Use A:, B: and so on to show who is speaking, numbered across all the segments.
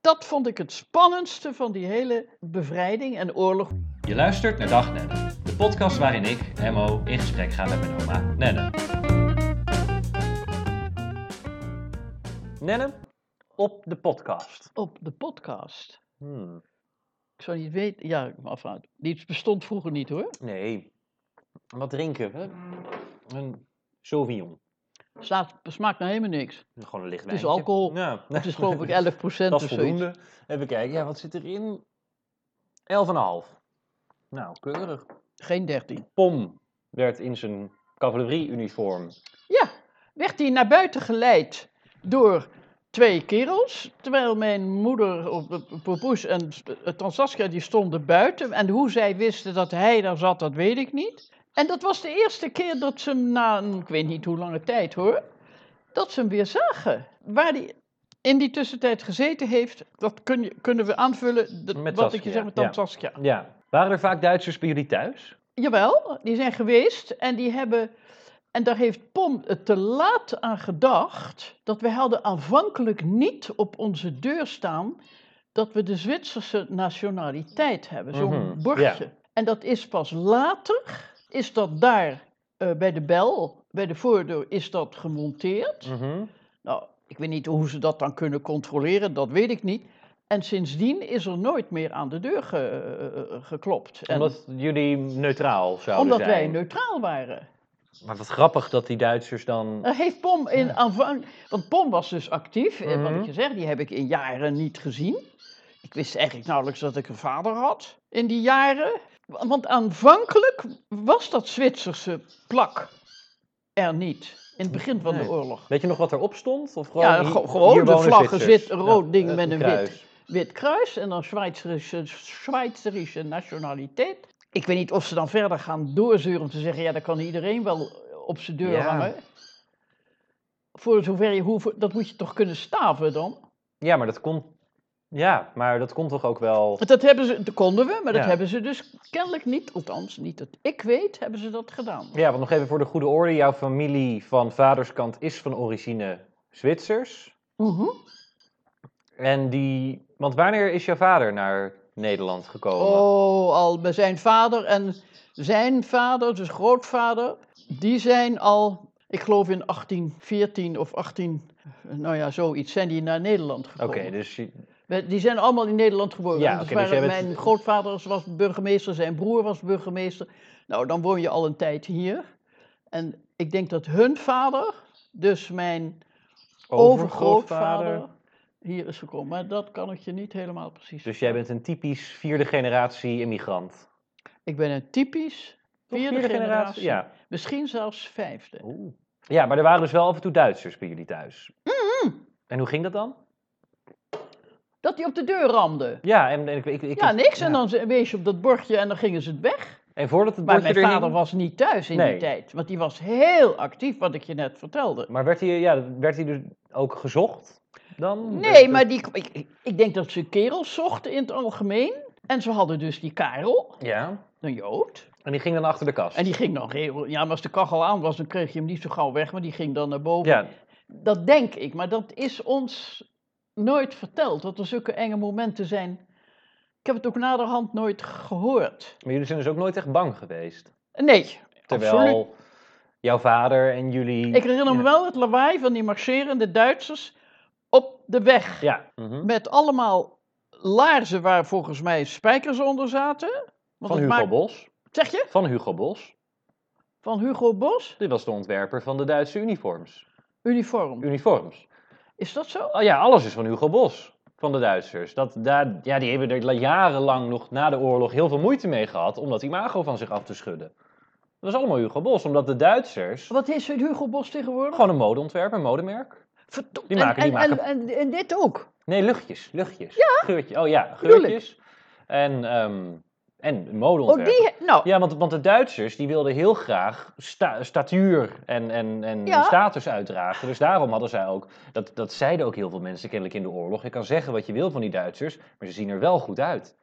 A: dat vond ik het spannendste van die hele bevrijding en oorlog.
B: Je luistert naar Dag Nenne, de podcast waarin ik, Emmo, in gesprek ga met mijn oma Nenne. Nenne, op de podcast.
A: Op de podcast.
B: Hmm,
A: Ik zou niet weten. Ja, enfin, die bestond vroeger niet hoor.
B: nee. Wat drinken we? Een Sauvignon.
A: Staat, smaakt nou helemaal niks.
B: Gewoon een licht
A: Het is
B: wijntje.
A: alcohol.
B: Ja,
A: Het is geloof ik 11% of
B: Dat
A: zoiets.
B: is voldoende. Even kijken, ja, wat zit erin? 11,5. Nou, keurig.
A: Geen 13.
B: Pom werd in zijn cavalerie-uniform.
A: Ja, werd hij naar buiten geleid door twee kerels. Terwijl mijn moeder, of, eh, Popoes en eh, Tant Saskia, die stonden buiten. En hoe zij wisten dat hij daar zat, dat weet ik niet. En dat was de eerste keer dat ze hem na, een, ik weet niet hoe lange tijd hoor, dat ze hem weer zagen. Waar hij in die tussentijd gezeten heeft, dat kun je, kunnen we aanvullen. Dat,
B: Met
A: wat ik
B: Saskia,
A: je zeg met Tant
B: ja.
A: Saskia.
B: Ja. Waren er vaak Duitsers bij jullie thuis?
A: Jawel, die zijn geweest en die hebben. En daar heeft Pom het te laat aan gedacht. dat we hadden aanvankelijk niet op onze deur staan. dat we de Zwitserse nationaliteit hebben, zo'n
B: Mhm,
A: bordje. En dat is pas later, is dat daar eh, bij de bel, bij de voordeur, is dat gemonteerd. Nou, ik weet niet hoe ze dat dan kunnen controleren, dat weet ik niet. En sindsdien is er nooit meer aan de deur ge- eh, eh, geklopt. En-
B: Omdat jullie neutraal zouden
A: omdat wij
B: zijn.
A: neutraal waren.
B: Maar wat grappig dat die Duitsers dan...
A: Er heeft Pom in aanvang. Want Pom was dus actief, eh, wat
B: Mhm.
A: ik je zeg, die heb ik in jaren niet gezien. Ik wist eigenlijk nauwelijks dat ik een vader had in die jaren. Wa- Want aanvankelijk was dat Zwitserse plak er niet. In het begin van
B: Nee.
A: de oorlog.
B: Weet je nog wat erop stond? Of gewoon
A: Ja,
B: hier-
A: ge- gewoon
B: hier
A: de
B: wonen
A: vlaggen,
B: Zwitsers?
A: wit, een rood ding
B: eh,
A: met een
B: kruis.
A: Wit kruis en dan Zwitserische, Zwitserische nationaliteit. Ik weet niet of ze dan verder gaan doorzuren om te zeggen: ja, dat kan iedereen wel op zijn deur
B: Ja.
A: hangen. Voor zover je hoeft, dat moet je toch kunnen staven dan?
B: Ja, maar dat komt... Ja, maar dat komt toch ook wel...
A: Want dat hebben ze, dat konden we, maar dat
B: Ja.
A: hebben ze dus kennelijk niet, althans niet dat ik weet, hebben ze dat gedaan.
B: Ja, want nog even voor de goede orde. Jouw familie van vaderskant is van origine Zwitsers.
A: Mhm.
B: En die... Want wanneer is jouw vader naar Nederland gekomen?
A: Oh, al bij zijn vader en zijn vader, dus grootvader, die zijn al, ik geloof in 1814 of 18, nou ja, zoiets, zijn die naar Nederland
B: Oké,
A: gekomen.
B: dus je-
A: We- Die zijn allemaal in Nederland geboren.
B: Ja,
A: Dus
B: oké, dus
A: waren-
B: jij bent-
A: Mijn grootvader was burgemeester, zijn broer was burgemeester. Nou, dan woon je al een tijd hier. En ik denk dat hun vader, dus mijn overgrootvader, hier is gekomen. Maar dat kan ik je niet helemaal precies
B: Dus jij bent een typisch vierde generatie immigrant.
A: Ik ben een typisch vierde, generatie.
B: Ja.
A: Misschien zelfs vijfde.
B: Oh. ja, maar er waren dus wel af en toe Duitsers bij jullie thuis.
A: Mm-hmm.
B: En hoe ging dat dan?
A: Dat die op de deur ramde.
B: Ja, en, en ik, ik, ik-
A: Ja, niks.
B: ja.
A: En dan ze- wees je op dat bordje en dan gingen ze het weg.
B: En voordat het
A: Maar
B: bordje
A: mijn
B: er
A: vader
B: hing-
A: was niet thuis in
B: Nee. Mm,
A: die tijd. Want die was heel actief, wat ik je net vertelde.
B: Maar werd hij, ja, werd hij dus ook gezocht dan?
A: Nee, maar die, ik, ik- ik denk dat ze kerels zochten in het algemeen. En ze hadden dus die Karel,
B: Ja,
A: een Jood.
B: en die ging dan achter de kast.
A: En die ging dan heel... Ja, maar als de kachel aan was, dan kreeg je hem niet zo gauw weg. Maar die ging dan naar boven.
B: Ja,
A: Dat denk ik, maar dat is ons nooit verteld, dat er zulke enge momenten zijn. Ik heb het ook naderhand nooit gehoord.
B: maar jullie zijn dus ook nooit echt bang geweest.
A: Nee,
B: Terwijl
A: absoluut.
B: jouw vader en jullie...
A: Ik herinner me
B: Ja.
A: wel het lawaai van die marcherende Duitsers op de weg.
B: Ja. mhm.
A: Met allemaal laarzen waar volgens mij spijkers onder zaten. Want het
B: Van Hugo
A: maakt-
B: Bos.
A: Zeg je?
B: Van Hugo Bos.
A: Van Hugo Bos?
B: Dit was de ontwerper van de Duitse uniforms.
A: Uniform.
B: Uniforms.
A: Is dat zo?
B: Oh ja, alles is van Hugo Bos, van de Duitsers. Dat, daar, ja, die hebben er la- jarenlang nog na de oorlog heel veel moeite mee gehad om dat imago van zich af te schudden. Dat is allemaal Hugo Bos, omdat de Duitsers
A: Wat is het Hugo Bos tegenwoordig?
B: gewoon een modeontwerp, een modemerk.
A: Verdo-
B: Die maken-
A: en,
B: die
A: en-
B: maken-
A: En, en, en dit ook.
B: Nee, luchtjes, luchtjes. Ja. Geurtje, oh ja,
A: Bedoel ik.
B: geurtjes. En, ehm en
A: Oh,
B: modeontwerp.
A: die. he- Nou,
B: Ja, want, want de Duitsers die wilden heel graag sta- statuur en, en, en
A: Ja.
B: status uitdragen. Dus daarom hadden zij ook, dat, dat zeiden ook heel veel mensen kennelijk in de oorlog. Je kan zeggen wat je wil van die Duitsers, maar ze zien er wel goed uit.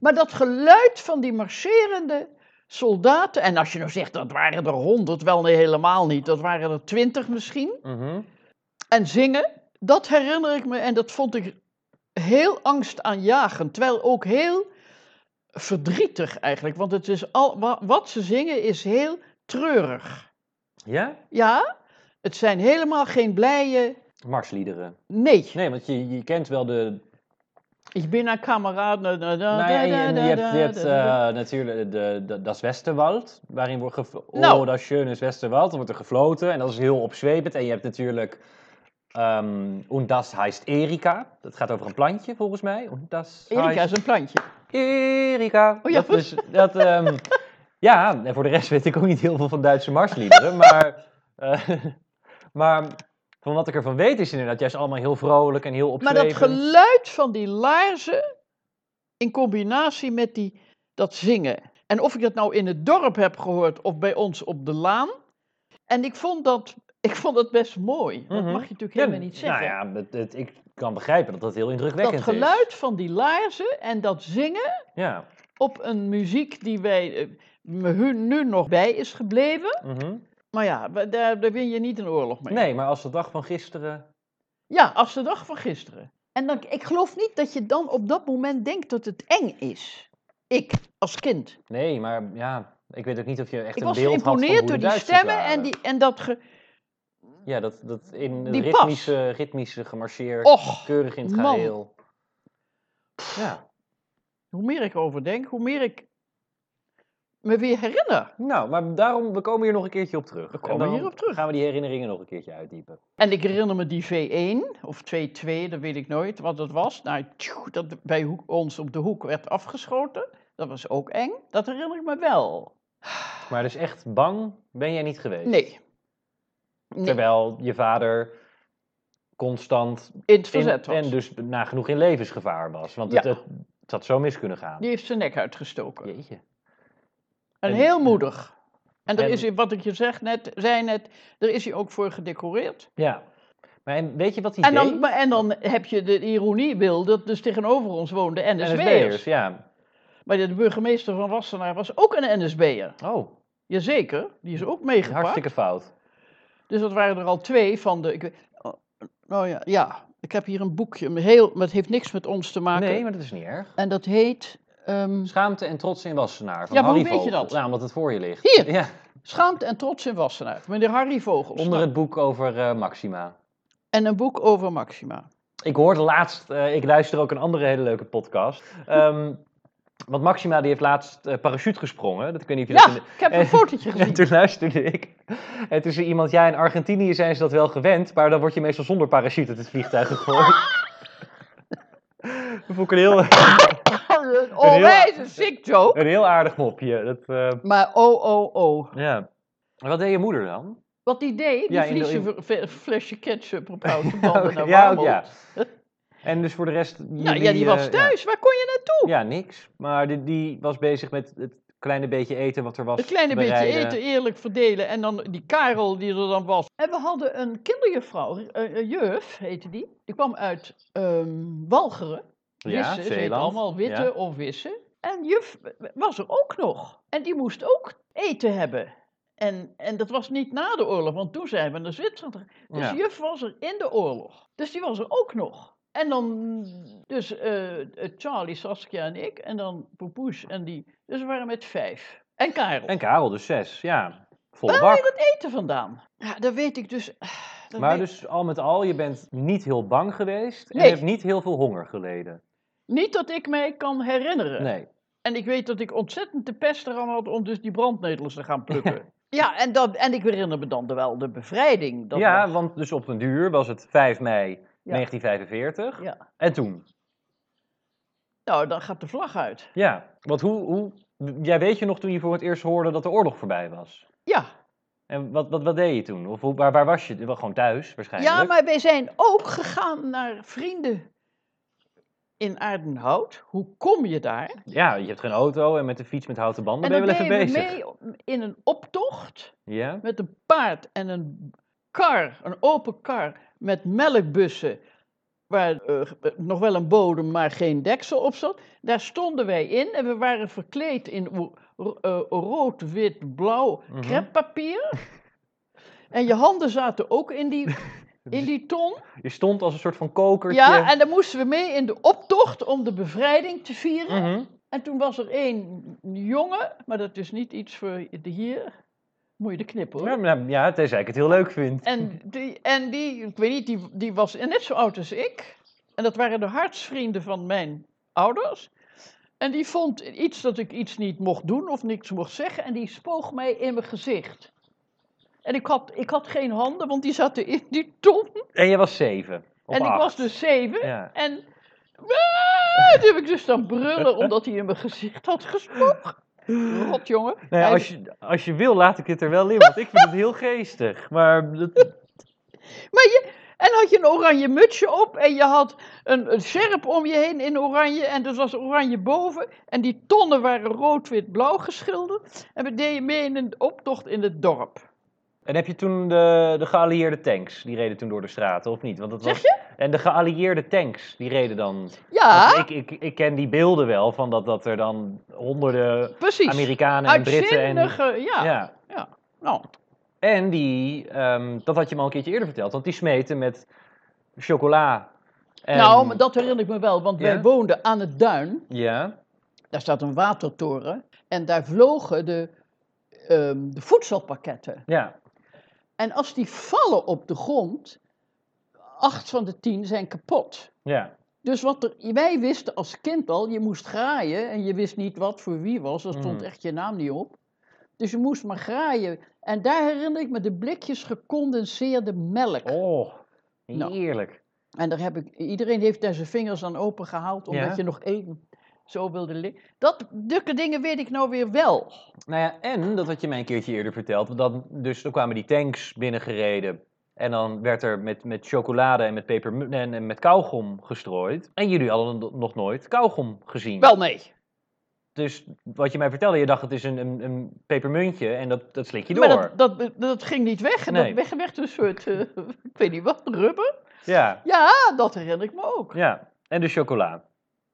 A: Maar dat geluid van die marcherende soldaten. En als je nou zegt dat waren er honderd, wel nee, helemaal niet. Dat waren er twintig misschien. En zingen, dat herinner ik me en dat vond ik heel angstaanjagend, terwijl ook heel verdrietig eigenlijk. Want het is al, wa- wat ze zingen is heel treurig.
B: Ja?
A: Ja, het zijn helemaal geen blije
B: Marsliederen.
A: nee.
B: Nee, want je, je kent wel de...
A: Ik ben een kameraad. na- na- na-
B: Nou ja, en je, en je hebt, je hebt
A: da- da- da-
B: eh, natuurlijk de, de, das Westerwald, waarin wordt ge-
A: Nou.
B: Oh, das schöne Westerwald, dan wordt er gefloten en dat is heel opzwepend. En je hebt natuurlijk ehm Und das heißt Erika, dat gaat over een plantje volgens mij. Und das
A: Erika is
B: heißt
A: een plantje.
B: Erika.
A: Oh ja,
B: dat is, dat, ehm, ja, en voor de rest weet ik ook niet heel veel van Duitse marsliederen. maar, eh, maar van wat ik ervan weet is inderdaad juist allemaal heel vrolijk en heel
A: Maar
B: opzwepend.
A: dat geluid van die laarzen in combinatie met die, dat zingen. En of ik dat nou in het dorp heb gehoord of bij ons op de laan. En ik vond dat, ik vond dat best mooi. Dat
B: Mhm.
A: mag je natuurlijk
B: Ja,
A: helemaal niet zeggen.
B: Nou ja, het, het- ik kan begrijpen dat dat heel indrukwekkend
A: dat
B: is.
A: geluid van die laarzen en dat zingen
B: Ja.
A: op een muziek die wij, eh, me hu- nu nog bij is gebleven.
B: mhm.
A: Maar ja, we- daar, daar win je niet een oorlog mee.
B: Nee, maar als de dag van gisteren...
A: Ja, als de dag van gisteren. En dan, ik geloof niet dat je dan op dat moment denkt dat het eng is. Ik, als kind.
B: Nee, maar ja, ik weet ook niet of je echt
A: ik
B: een
A: was
B: beeld had van hoe
A: geïmponeerd door
B: de
A: die
B: Duitsers
A: stemmen en,
B: waren.
A: die, en dat ge...
B: Ja, dat, dat in het
A: die pas.
B: ritmische, ritmische gemarcheer,
A: Och,
B: keurig in het
A: man.
B: geheel. Ja.
A: hoe meer ik over denk, hoe meer ik me weer herinner.
B: Nou, maar daarom, we komen hier nog een keertje op terug. We
A: komen hierop terug.
B: gaan we die herinneringen nog een keertje uitdiepen.
A: En ik herinner me die V1 of 2-2, dat weet ik nooit wat het was. Nou, tjoe, dat bij hoek- ons op de hoek werd afgeschoten. Dat was ook eng. Dat herinner ik me wel.
B: Maar dus echt bang ben jij niet geweest.
A: Nee. nee.
B: Terwijl je vader constant
A: In het
B: in-
A: verzet was.
B: en dus nagenoeg in levensgevaar was. Want het,
A: Ja.
B: het, het had zo mis kunnen gaan.
A: Die heeft zijn nek uitgestoken.
B: Jeetje.
A: En
B: En-
A: heel moedig. En er
B: En-
A: is, wat ik je zeg net, zei net, er is hij ook voor gedecoreerd.
B: Ja. Maar en weet je wat hij
A: En dan,
B: deed?
A: maar- en dan heb je de ironie wil dat dus tegenover ons woonden NSB'ers.
B: NSB'ers, ja.
A: Maar de burgemeester van Wassenaar was ook een NSB'er.
B: Oh,
A: Jazeker, die is ook meegepakt.
B: hartstikke fout.
A: Dus dat waren er al twee van de... Ik, weet- oh, nou ja, ja, ik heb hier een boekje, een heel, maar het heeft niks met ons te maken.
B: Nee, maar dat is niet erg.
A: En dat heet ehm,
B: Schaamte en trots in Wassenaar. Van
A: Ja, maar hoe
B: Harry
A: weet je
B: Vogel.
A: dat?
B: Nou, omdat het voor je ligt.
A: Hier.
B: Ja,
A: Schaamte en trots in Wassenaar. Meneer Harry Vogels.
B: onder het boek over eh, Maxima.
A: En een boek over Maxima.
B: Ik hoorde laatst, eh, ik luister ook een andere hele leuke podcast. Ehm, want Maxima die heeft laatst eh, parachute gesprongen. Dat, ik weet niet of je
A: Ja,
B: dat in de-
A: ik heb een
B: en-
A: fotootje gezien.
B: En toen luisterde ik. En toen zei iemand, ja in Argentinië zijn ze dat wel gewend, maar dan word je meestal zonder parachute uit het vliegtuig gegooid. Dat vond ik een heel,
A: Een onwijze sick joke.
B: een heel aardig mopje. Dat, eh,
A: Maar oh, oh, oh.
B: ja. En Wat deed je moeder dan?
A: Wat die deed, die
B: Ja, in de-
A: vliezen v- flesje ketchup op houten banden naar
B: ja, ook
A: Warmond.
B: ja. En dus voor de rest...
A: Nou ja, die
B: eh,
A: was
B: ja.
A: thuis. Waar kon je naartoe?
B: Ja, niks. Maar die, die was bezig met het kleine beetje eten wat er was.
A: Een kleine beetje
B: bereiden.
A: eten eerlijk verdelen. En dan die Karel die er dan was. En we hadden een kinderjuffrouw, eh, eh, juf heette die. Die kwam uit ehm Walcheren.
B: Ja,
A: Wissen, ze heette
B: Zeeland.
A: allemaal witte
B: Ja.
A: of wissen. En juf was er ook nog. En die moest ook eten hebben. En, en dat was niet na de oorlog, want toen zijn we naar Zwitserland gegaan. Dus
B: Ja.
A: juf was er in de oorlog. Dus die was er ook nog. En dan, dus eh, eh, Charlie, Saskia en ik. En dan Poepoes en die. Dus we waren met vijf. En Karel.
B: En Karel, dus zes. Ja, vol
A: Waar haal je
B: bak.
A: dat eten vandaan? Ja, dat weet ik dus. dat
B: Maar
A: weet-
B: dus al met al, je bent niet heel bang geweest. En
A: Nee.
B: je hebt niet heel veel honger geleden.
A: Niet dat ik mij kan herinneren.
B: Nee.
A: En ik weet dat ik ontzettend de pest eraan had om dus die brandnetels te gaan plukken. ja, en, dat, en ik herinner me dan wel de bevrijding. Dat
B: ja,
A: was-
B: want dus op een duur was het 5 mei
A: Ja.
B: 1945.
A: ja.
B: En toen?
A: Nou, dan gaat de vlag uit.
B: Ja, want hoe, hoe... Jij weet je nog toen je voor het eerst hoorde dat de oorlog voorbij was.
A: Ja.
B: En wat, wat, wat deed je toen? Of hoe, waar, waar was je? Wel Gewoon thuis waarschijnlijk.
A: ja, maar wij zijn ook gegaan naar vrienden in Aardenhout. Hoe kom je daar?
B: Ja, je hebt geen auto en met de fiets met houten banden ben
A: en
B: je
A: dan
B: wel even
A: deden we
B: bezig.
A: mee in een optocht.
B: Ja?
A: met een paard en een kar, een open kar met melkbussen, waar eh, nog wel een bodem, maar geen deksel op zat. Daar stonden wij in en we waren verkleed in o- ro- eh, rood, wit, blauw
B: Mhm.
A: kreppapier. en je handen zaten ook in die in die ton.
B: Je stond als een soort van kokertje.
A: Ja, en dan moesten we mee in de optocht om de bevrijding te vieren.
B: Mhm.
A: En toen was er één jongen, maar dat is niet iets voor de hier. Moet je de knippen hoor.
B: Ja, maar- ja, tenzij ik het heel leuk vind.
A: En die, en die, ik weet niet, die, die was net zo oud als ik. En dat waren de hartsvrienden van mijn ouders. En die vond iets dat ik iets niet mocht doen of niks mocht zeggen. En die spoog mij in mijn gezicht. En ik had, ik had geen handen, want die zaten in die ton.
B: En je was zeven. Of
A: en ik
B: acht.
A: was dus zeven.
B: Ja.
A: En "Ah!" toen heb ik dus dan brullen omdat hij in mijn gezicht had gesproken. Rot, jongen.
B: Nou ja,
A: Hij-
B: als, je, als je wil, laat ik het er wel in, want ik vind het heel geestig. Maar dat,
A: Maar je, en had je een oranje mutsje op en je had een, een sjerp om je heen in oranje en dus was oranje boven en die tonnen waren rood-wit-blauw geschilderd en we deden mee in een optocht in het dorp.
B: En heb je toen de, de geallieerde tanks, die reden toen door de straten, of niet? Want dat
A: Zeg
B: was, je? En de geallieerde tanks, die reden dan...
A: Ja,
B: Want Ik, ik, ik ken die beelden wel, van dat, dat er dan honderden
A: precies.
B: Amerikanen en Britten en...
A: Uitzinnige, Ah. ja.
B: ja.
A: Nou,
B: En die, ehm, dat had je me al een keertje eerder verteld, want die smeten met chocola. En,
A: nou, maar dat herinner ik me wel, want
B: Ja?
A: wij woonden aan het duin.
B: Ja,
A: Daar staat een watertoren en daar vlogen de, ehm, de voedselpakketten.
B: ja.
A: En als die vallen op de grond, acht van de tien zijn kapot.
B: Ja,
A: Dus wat er, wij wisten als kind al, je moest graaien en je wist niet wat voor wie was, daar stond
B: Mhm.
A: echt je naam niet op. Dus je moest maar graaien. En daar herinner ik me de blikjes gecondenseerde melk.
B: oh,
A: Nou.
B: heerlijk.
A: En daar heb ik, iedereen heeft daar zijn vingers aan open gehaald, omdat
B: Ja.
A: je nog één zo wilde liggen. Dat dukke dingen weet ik nou weer wel.
B: Nou ja, en dat had je mij een keertje eerder verteld. Dan, dus dan kwamen die tanks binnengereden. En dan werd er met, met chocolade en met, pepermunt en, en met kauwgom gestrooid. En jullie hadden no- nog nooit kauwgom gezien.
A: Wel nee.
B: Dus wat je mij vertelde, je dacht het is een, een, een pepermuntje en dat, dat slik je door.
A: Maar dat, dat, dat ging niet weg. En
B: Nee.
A: dat weg werd een soort, eh, ik weet niet wat, rubber.
B: Ja,
A: Ja, dat herinner ik me ook.
B: ja. En de chocola.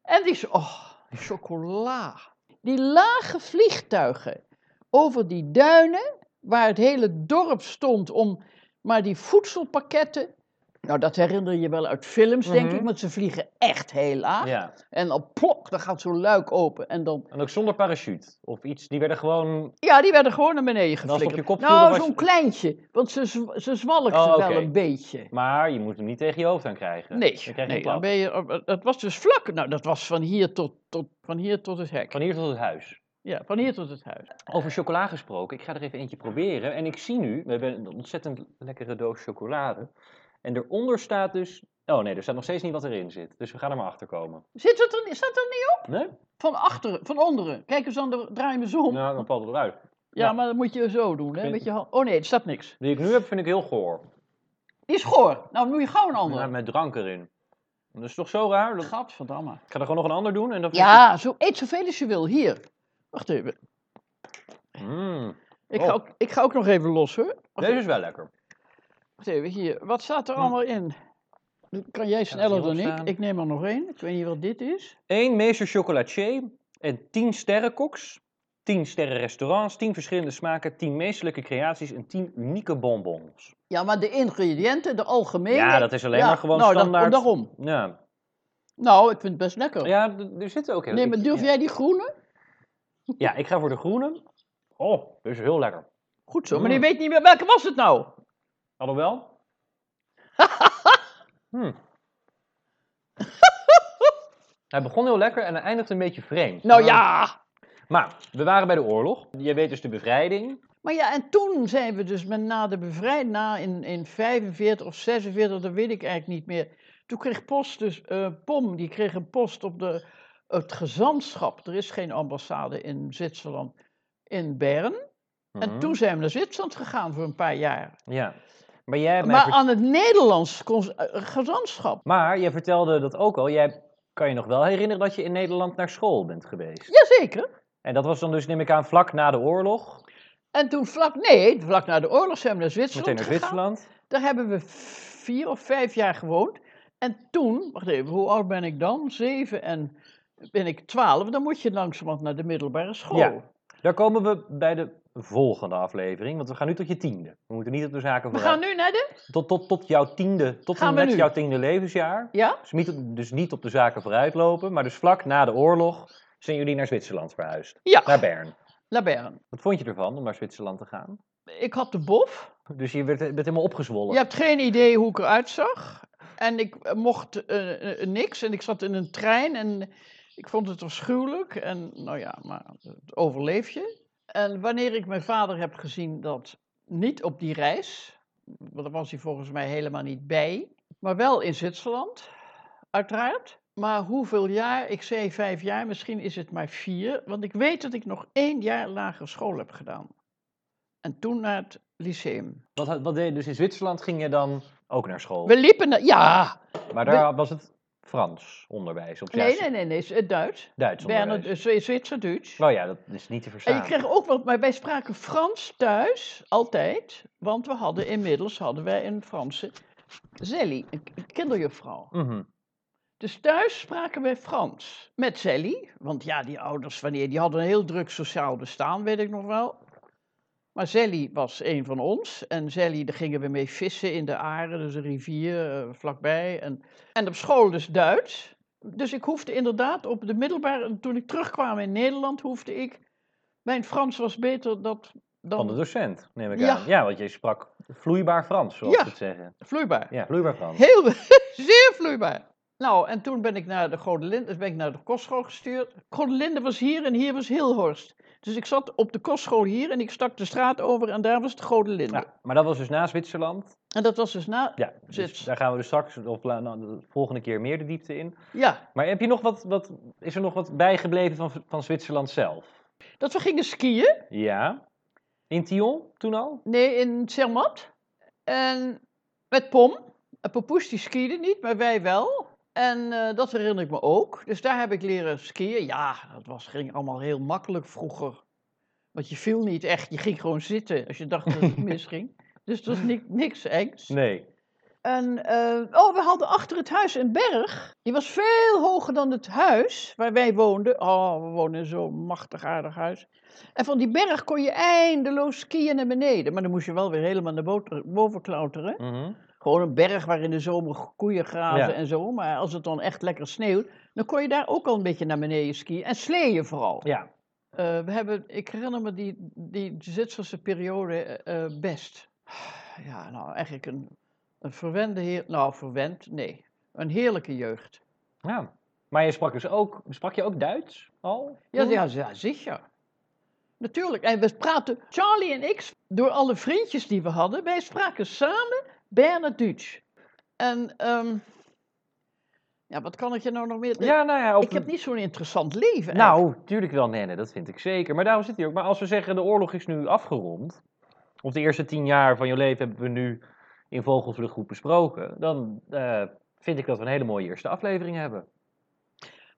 A: En die, zo- oh, die chocola. Die lage vliegtuigen over die duinen, waar het hele dorp stond om, maar die voedselpakketten. Nou, dat herinner je wel uit films, denk
B: Mhm.
A: ik, want ze vliegen echt heel laag.
B: Ja.
A: En dan plok, dan gaat zo'n luik open. En dan,
B: En ook zonder parachute of iets. Die werden gewoon...
A: ja, die werden gewoon naar beneden
B: En als het op
A: geflikkerd.
B: je kop viel, dan
A: nou,
B: was
A: zo'n
B: je-
A: kleintje, want ze, zw- ze zwalkten
B: Oh, oké.
A: wel een beetje.
B: Maar je moet hem niet tegen je hoofd aan krijgen.
A: Nee,
B: Dan krijg je een
A: nee
B: klap.
A: dan ben je, dat was dus vlak. Nou, dat was van hier tot, tot, van hier tot het hek.
B: Van hier tot het huis.
A: Ja, van hier tot het huis.
B: Over chocola gesproken, ik ga er even eentje proberen. En ik zie nu, we hebben een ontzettend lekkere doos chocolade. En eronder staat dus. Oh nee, er staat nog steeds niet wat erin zit. Dus we gaan er maar achter komen.
A: Zit het er, staat er niet
B: Nee?
A: van achteren, van onderen? Kijk eens aan de draai me zo om. Ja,
B: Nou, dan valt het wel uit. ja.
A: maar dat moet je zo doen, hè?
B: Vind-
A: Met je hand. Oh nee, er staat niks.
B: Die ik nu heb, vind ik heel goor.
A: Die is goor. Nou, moet je gauw een
B: Ja,
A: ander.
B: met drank erin. Dat is toch zo raar? Dat-
A: Gadverdamme.
B: Ik ga er gewoon nog een ander doen en dan.
A: Ja, zo, eet zoveel als je wil. Hier. Wacht even.
B: Mm,
A: Ik,
B: Oh.
A: ga, ook, ik ga ook nog even los, hoor. Wacht,
B: deze is wel lekker.
A: wacht even, hier. Wat staat er
B: Hm.
A: allemaal in? Dat Kan jij sneller dan ik?
B: opstaan.
A: Ik neem er nog één. Ik weet niet wat dit is.
B: 1 meester chocolatier en 10 sterrenkoks. 10 sterren restaurants, 10 verschillende smaken, 10 meesterlijke creaties en 10 unieke bonbons.
A: Ja, maar de ingrediënten, de algemene.
B: Ja, dat is alleen
A: Ja,
B: maar gewoon
A: nou, dat-
B: standaard.
A: daarom.
B: Ja,
A: Nou, ik vind het best lekker.
B: ja d- er zitten ook heel
A: nee, maar
B: ik-
A: durf
B: ja.
A: jij die groene?
B: Ja, ik ga voor de groene. Oh, dit is heel lekker.
A: Goed zo. Maar
B: Mm.
A: die weet niet meer welke was het nou.
B: Alhoewel. Hmm. Hij begon heel lekker en hij eindigt een beetje vreemd.
A: Nou
B: Maar-
A: ja.
B: Maar we waren bij de oorlog. Je weet dus de bevrijding.
A: Maar ja, en toen zijn we dus met na de bevrijding, na in, in 45 of 46, dat weet ik eigenlijk niet meer. Toen kreeg Post dus, eh, POM, die kreeg een post op de, het gezantschap. Er is geen ambassade in Zwitserland, in Bern. En
B: Mhm.
A: toen zijn we naar Zwitserland gegaan voor een paar jaar.
B: Ja. Maar jij hebt mij
A: Maar
B: vert-
A: aan het Nederlands cons- eh, gezantschap.
B: maar jij vertelde dat ook al. Jij kan je nog wel herinneren dat je in Nederland naar school bent geweest.
A: Jazeker.
B: En dat was dan dus, neem ik aan, vlak na de oorlog.
A: En toen vlak, nee, vlak na de oorlog zijn we naar Zwitserland
B: Meteen naar
A: gegaan.
B: Zwitserland.
A: Daar hebben we vier of vijf jaar gewoond. En toen, wacht even, hoe oud ben ik dan? Zeven en ben ik twaalf. Dan moet je langzamerhand naar de middelbare school.
B: Ja. Daar komen we bij de volgende aflevering. Want we gaan nu tot je tiende. We moeten niet op de zaken
A: We
B: vooruit.
A: gaan nu naar de.
B: Tot, tot, tot jouw tiende, tot
A: Gaan
B: en
A: we
B: met
A: nu?
B: jouw tiende levensjaar.
A: Ja?
B: Dus niet, op- dus niet op de zaken vooruit lopen. Maar dus vlak na de oorlog zijn jullie naar Zwitserland verhuisd. Naar
A: Ja,
B: Bern.
A: naar Bern.
B: Wat vond je ervan om naar Zwitserland te gaan?
A: Ik had de bof.
B: Dus je werd, werd helemaal opgezwollen.
A: Je hebt geen idee hoe ik eruit zag. En ik eh, mocht eh, eh, niks. En ik zat in een trein en ik vond het afschuwelijk. En nou ja, maar het overleef je. En wanneer ik mijn vader heb gezien dat niet op die reis, want daar was hij volgens mij helemaal niet bij, maar wel in Zwitserland, uiteraard. Maar hoeveel jaar? Ik zei vijf jaar, misschien is het maar vier. Want ik weet dat ik nog één jaar lagere school heb gedaan. En toen naar het lyceum.
B: Wat, had- wat deed, dus in Zwitserland ging je dan ook naar school.
A: We liepen naar, ja,
B: maar daar was het Frans onderwijs. Of
A: nee,
B: juist
A: nee, nee, nee, het is eh, Duits.
B: Duits onderwijs.
A: Bernard, eh, Zwi- Zwitser-Duits.
B: Nou ja, dat is niet te
A: En
B: verstaan.
A: je kreeg ook wat, maar wij spraken Frans thuis, altijd. Want we hadden inmiddels hadden wij een Franse Sally, een k- een kinderjuffrouw.
B: Mhm.
A: Dus thuis spraken wij Frans met Sally. Want ja, die ouders, wanneer, die hadden een heel druk sociaal bestaan, weet ik nog wel. Maar Sally was een van ons. En Sally, daar gingen we mee vissen in de Aare, dus een rivier eh, vlakbij. En, en op school dus Duits. Dus ik hoefde inderdaad op de middelbare... Toen ik terugkwam in Nederland, hoefde ik... Mijn Frans was beter dan,
B: Van de
A: dan
B: docent, neem ik
A: Ja.
B: aan. Ja, want je sprak vloeibaar Frans, zoals
A: Ja.
B: ze het zeggen.
A: vloeibaar.
B: Ja, vloeibaar Frans.
A: Heel, zeer vloeibaar. Nou, en toen ben ik naar de Godelinde, ben ik naar de kostschool gestuurd. Godelinde was hier en hier was Hilhorst. Dus ik zat op de kostschool hier en ik stak de straat over en daar was de Godelinde.
B: Ja, maar dat was dus na Zwitserland.
A: En dat was dus na...
B: Ja, dus
A: Zwits.
B: daar gaan we dus straks of la- nou, de volgende keer meer de diepte in.
A: Ja,
B: Maar heb je nog wat, wat, is er nog wat bijgebleven van, van Zwitserland zelf?
A: dat we gingen skiën.
B: Ja. In Tion toen al?
A: Nee, in Zermatt. En met Pom. En Papoes die skiede niet, maar wij wel. En eh, dat herinner ik me ook. Dus daar heb ik leren skiën. Ja, dat was, ging allemaal heel makkelijk vroeger. Want je viel niet echt, je ging gewoon zitten als je dacht dat het misging. Dus dat was ni- niks engs.
B: Nee.
A: En, eh, oh, we hadden achter het huis een berg. Die was veel hoger dan het huis waar wij woonden. Oh, we woonden in zo'n machtig aardig huis. En van die berg kon je eindeloos skiën naar beneden. Maar dan moest je wel weer helemaal naar boter- boven klauteren.
B: Mhm.
A: Gewoon een berg waar in de zomer koeien grazen
B: Ja.
A: en zo. Maar als het dan echt lekker sneeuwt, dan kon je daar ook al een beetje naar beneden skiën. En sleeën vooral.
B: Ja.
A: Eh, we hebben, ik herinner me die, die Zwitserse periode eh, eh, best. Ja, nou eigenlijk een, een verwende heer. Nou, verwend, nee. Een heerlijke jeugd.
B: ja. Nou, Maar je sprak dus ook, sprak je ook Duits al?
A: Ja,
B: toen?
A: ja, ja zeker. Natuurlijk. En we praten, Charlie en ik, door alle vriendjes die we hadden, wij spraken samen Bernard Duits. En, ehm, ja, wat kan ik je nou nog meer...
B: Ja, nou ja. op
A: ik
B: de-
A: heb niet zo'n interessant leven. eigenlijk.
B: Nou, tuurlijk wel, nee, nee, dat vind ik zeker. Maar daarom zit hij ook. Maar als we zeggen, de oorlog is nu afgerond. Of de eerste tien jaar van je leven hebben we nu in Vogelvlucht goed besproken. Dan eh, vind ik dat we een hele mooie eerste aflevering hebben.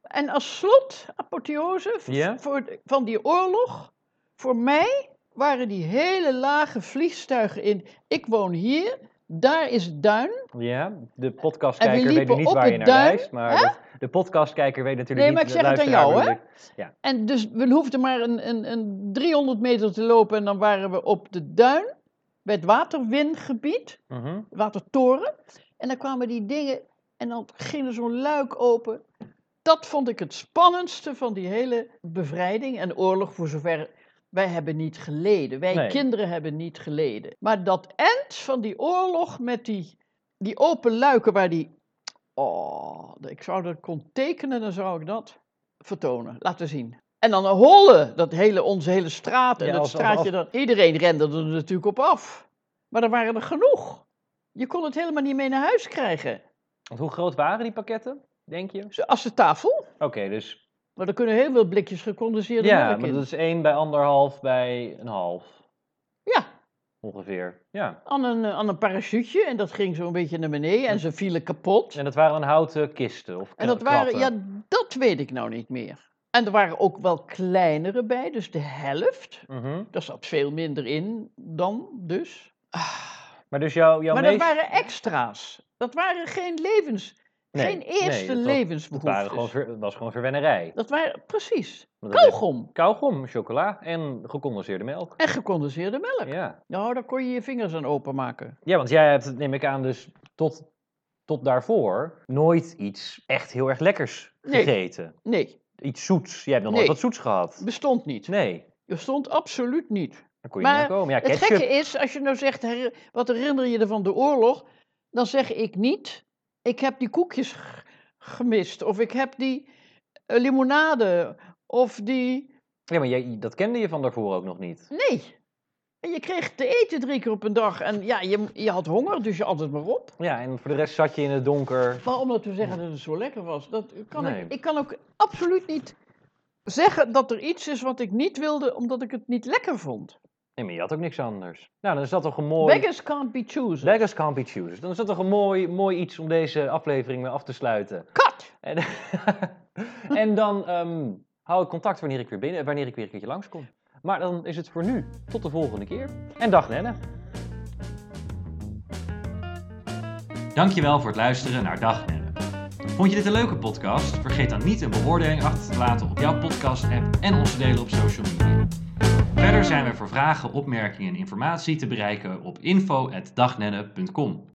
A: En als slot, apotheose, v-
B: Ja?
A: voor, de- van die oorlog, voor mij waren die hele lage vliegtuigen in. Ik woon hier, daar is het duin.
B: Ja, de podcastkijker
A: En we
B: weet nu
A: liepen
B: niet
A: op
B: waar
A: het
B: je naar
A: duin,
B: wijst. Maar de, de podcastkijker weet natuurlijk
A: Nee, maar
B: niet...
A: ik zeg
B: de
A: het aan
B: luisteraar
A: jou, hè?
B: bedoel ik.
A: En dus we hoefden maar een, een, een 300 meter te lopen en dan waren we op de duin, bij het waterwingebied,
B: Mhm.
A: watertoren. En dan kwamen die dingen en dan ging er zo'n luik open. Dat vond ik het spannendste van die hele bevrijding en oorlog, voor zover wij hebben niet geleden. Wij
B: Nee.
A: kinderen hebben niet geleden. Maar dat eind van die oorlog met die, die open luiken waar die... Oh, ik zou dat kon tekenen, dan zou ik dat vertonen, laten zien. En dan een holle, dat hele, onze hele straat en
B: Ja,
A: dat
B: als- als-
A: straatje. Dat, iedereen rende er natuurlijk op af. Maar er waren er genoeg. Je kon het helemaal niet mee naar huis krijgen.
B: Want hoe groot waren die pakketten, denk je?
A: Zo, Als de tafel,
B: Oké, dus...
A: maar er kunnen heel veel blikjes gecondenseerde
B: Ja,
A: melk
B: maar
A: in.
B: dat is één bij anderhalf bij een half,
A: Ja,
B: ongeveer. Ja.
A: aan een, eh, aan een parachute en dat ging zo'n beetje naar beneden en ze vielen kapot.
B: En dat waren dan houten kisten of
A: En dat
B: kra-
A: waren,
B: kratten.
A: ja, dat weet ik nou niet meer. En er waren ook wel kleinere bij, dus de helft.
B: Mhm.
A: Daar zat veel minder in dan dus. Ah,
B: Maar dus jouw, jouw
A: maar
B: meest...
A: dat waren extra's. Dat waren geen levens.
B: Nee,
A: Geen
B: nee,
A: eerste
B: dat was- Het
A: levensbehoeftes.
B: waren gewoon ver- het was gewoon verwennerij.
A: Dat waren precies.
B: Want dat heeft
A: Kauwgom
B: Kauwgom, chocola en gecondenseerde melk.
A: en gecondenseerde melk.
B: Ja.
A: Nou, daar kon je je vingers aan openmaken.
B: ja, want jij hebt, neem ik aan, dus tot, tot daarvoor nooit iets echt heel erg lekkers
A: Nee.
B: gegeten.
A: Nee,
B: Iets zoets. Jij hebt nog nooit
A: Nee.
B: wat zoets gehad.
A: bestond niet.
B: Nee,
A: Bestond absoluut niet.
B: daar kon je
A: Maar
B: niet aan komen. Ja,
A: Het
B: ketchup.
A: gekke is, als je nou zegt, her- wat herinner je je van de oorlog? Dan zeg ik niet, ik heb die koekjes g- gemist. Of ik heb die eh, limonade. Of die...
B: Ja, maar jij, dat kende je van daarvoor ook nog niet.
A: Nee. En je kreeg te eten drie keer op een dag. En ja, je, je had honger, dus je at het maar op.
B: Ja, en voor de rest zat je in het donker.
A: Maar om dat te zeggen dat het zo lekker was, dat kan
B: Nee.
A: ik... Ik kan ook absoluut niet zeggen dat er iets is wat ik niet wilde, omdat ik het niet lekker vond.
B: Nee, maar je had ook niks anders. Nou, dan is dat toch een mooi...
A: Beggars can't be choosers.
B: Beggars can't be choosers. Dus Dan is dat toch een mooi, mooi iets om deze aflevering mee af te sluiten.
A: Kat!
B: En, en dan ehm, hou ik contact wanneer ik weer binnen, wanneer ik weer een keertje langskom. Maar dan is het voor nu. Tot de volgende keer. En dag Nenne. Dankjewel voor het luisteren naar Dag Nenne. Vond je dit een leuke podcast? Vergeet dan niet een beoordeling achter te laten op jouw podcast app en ons te delen op social media. Verder zijn we voor vragen, opmerkingen en informatie te bereiken op info.dagnenne.com.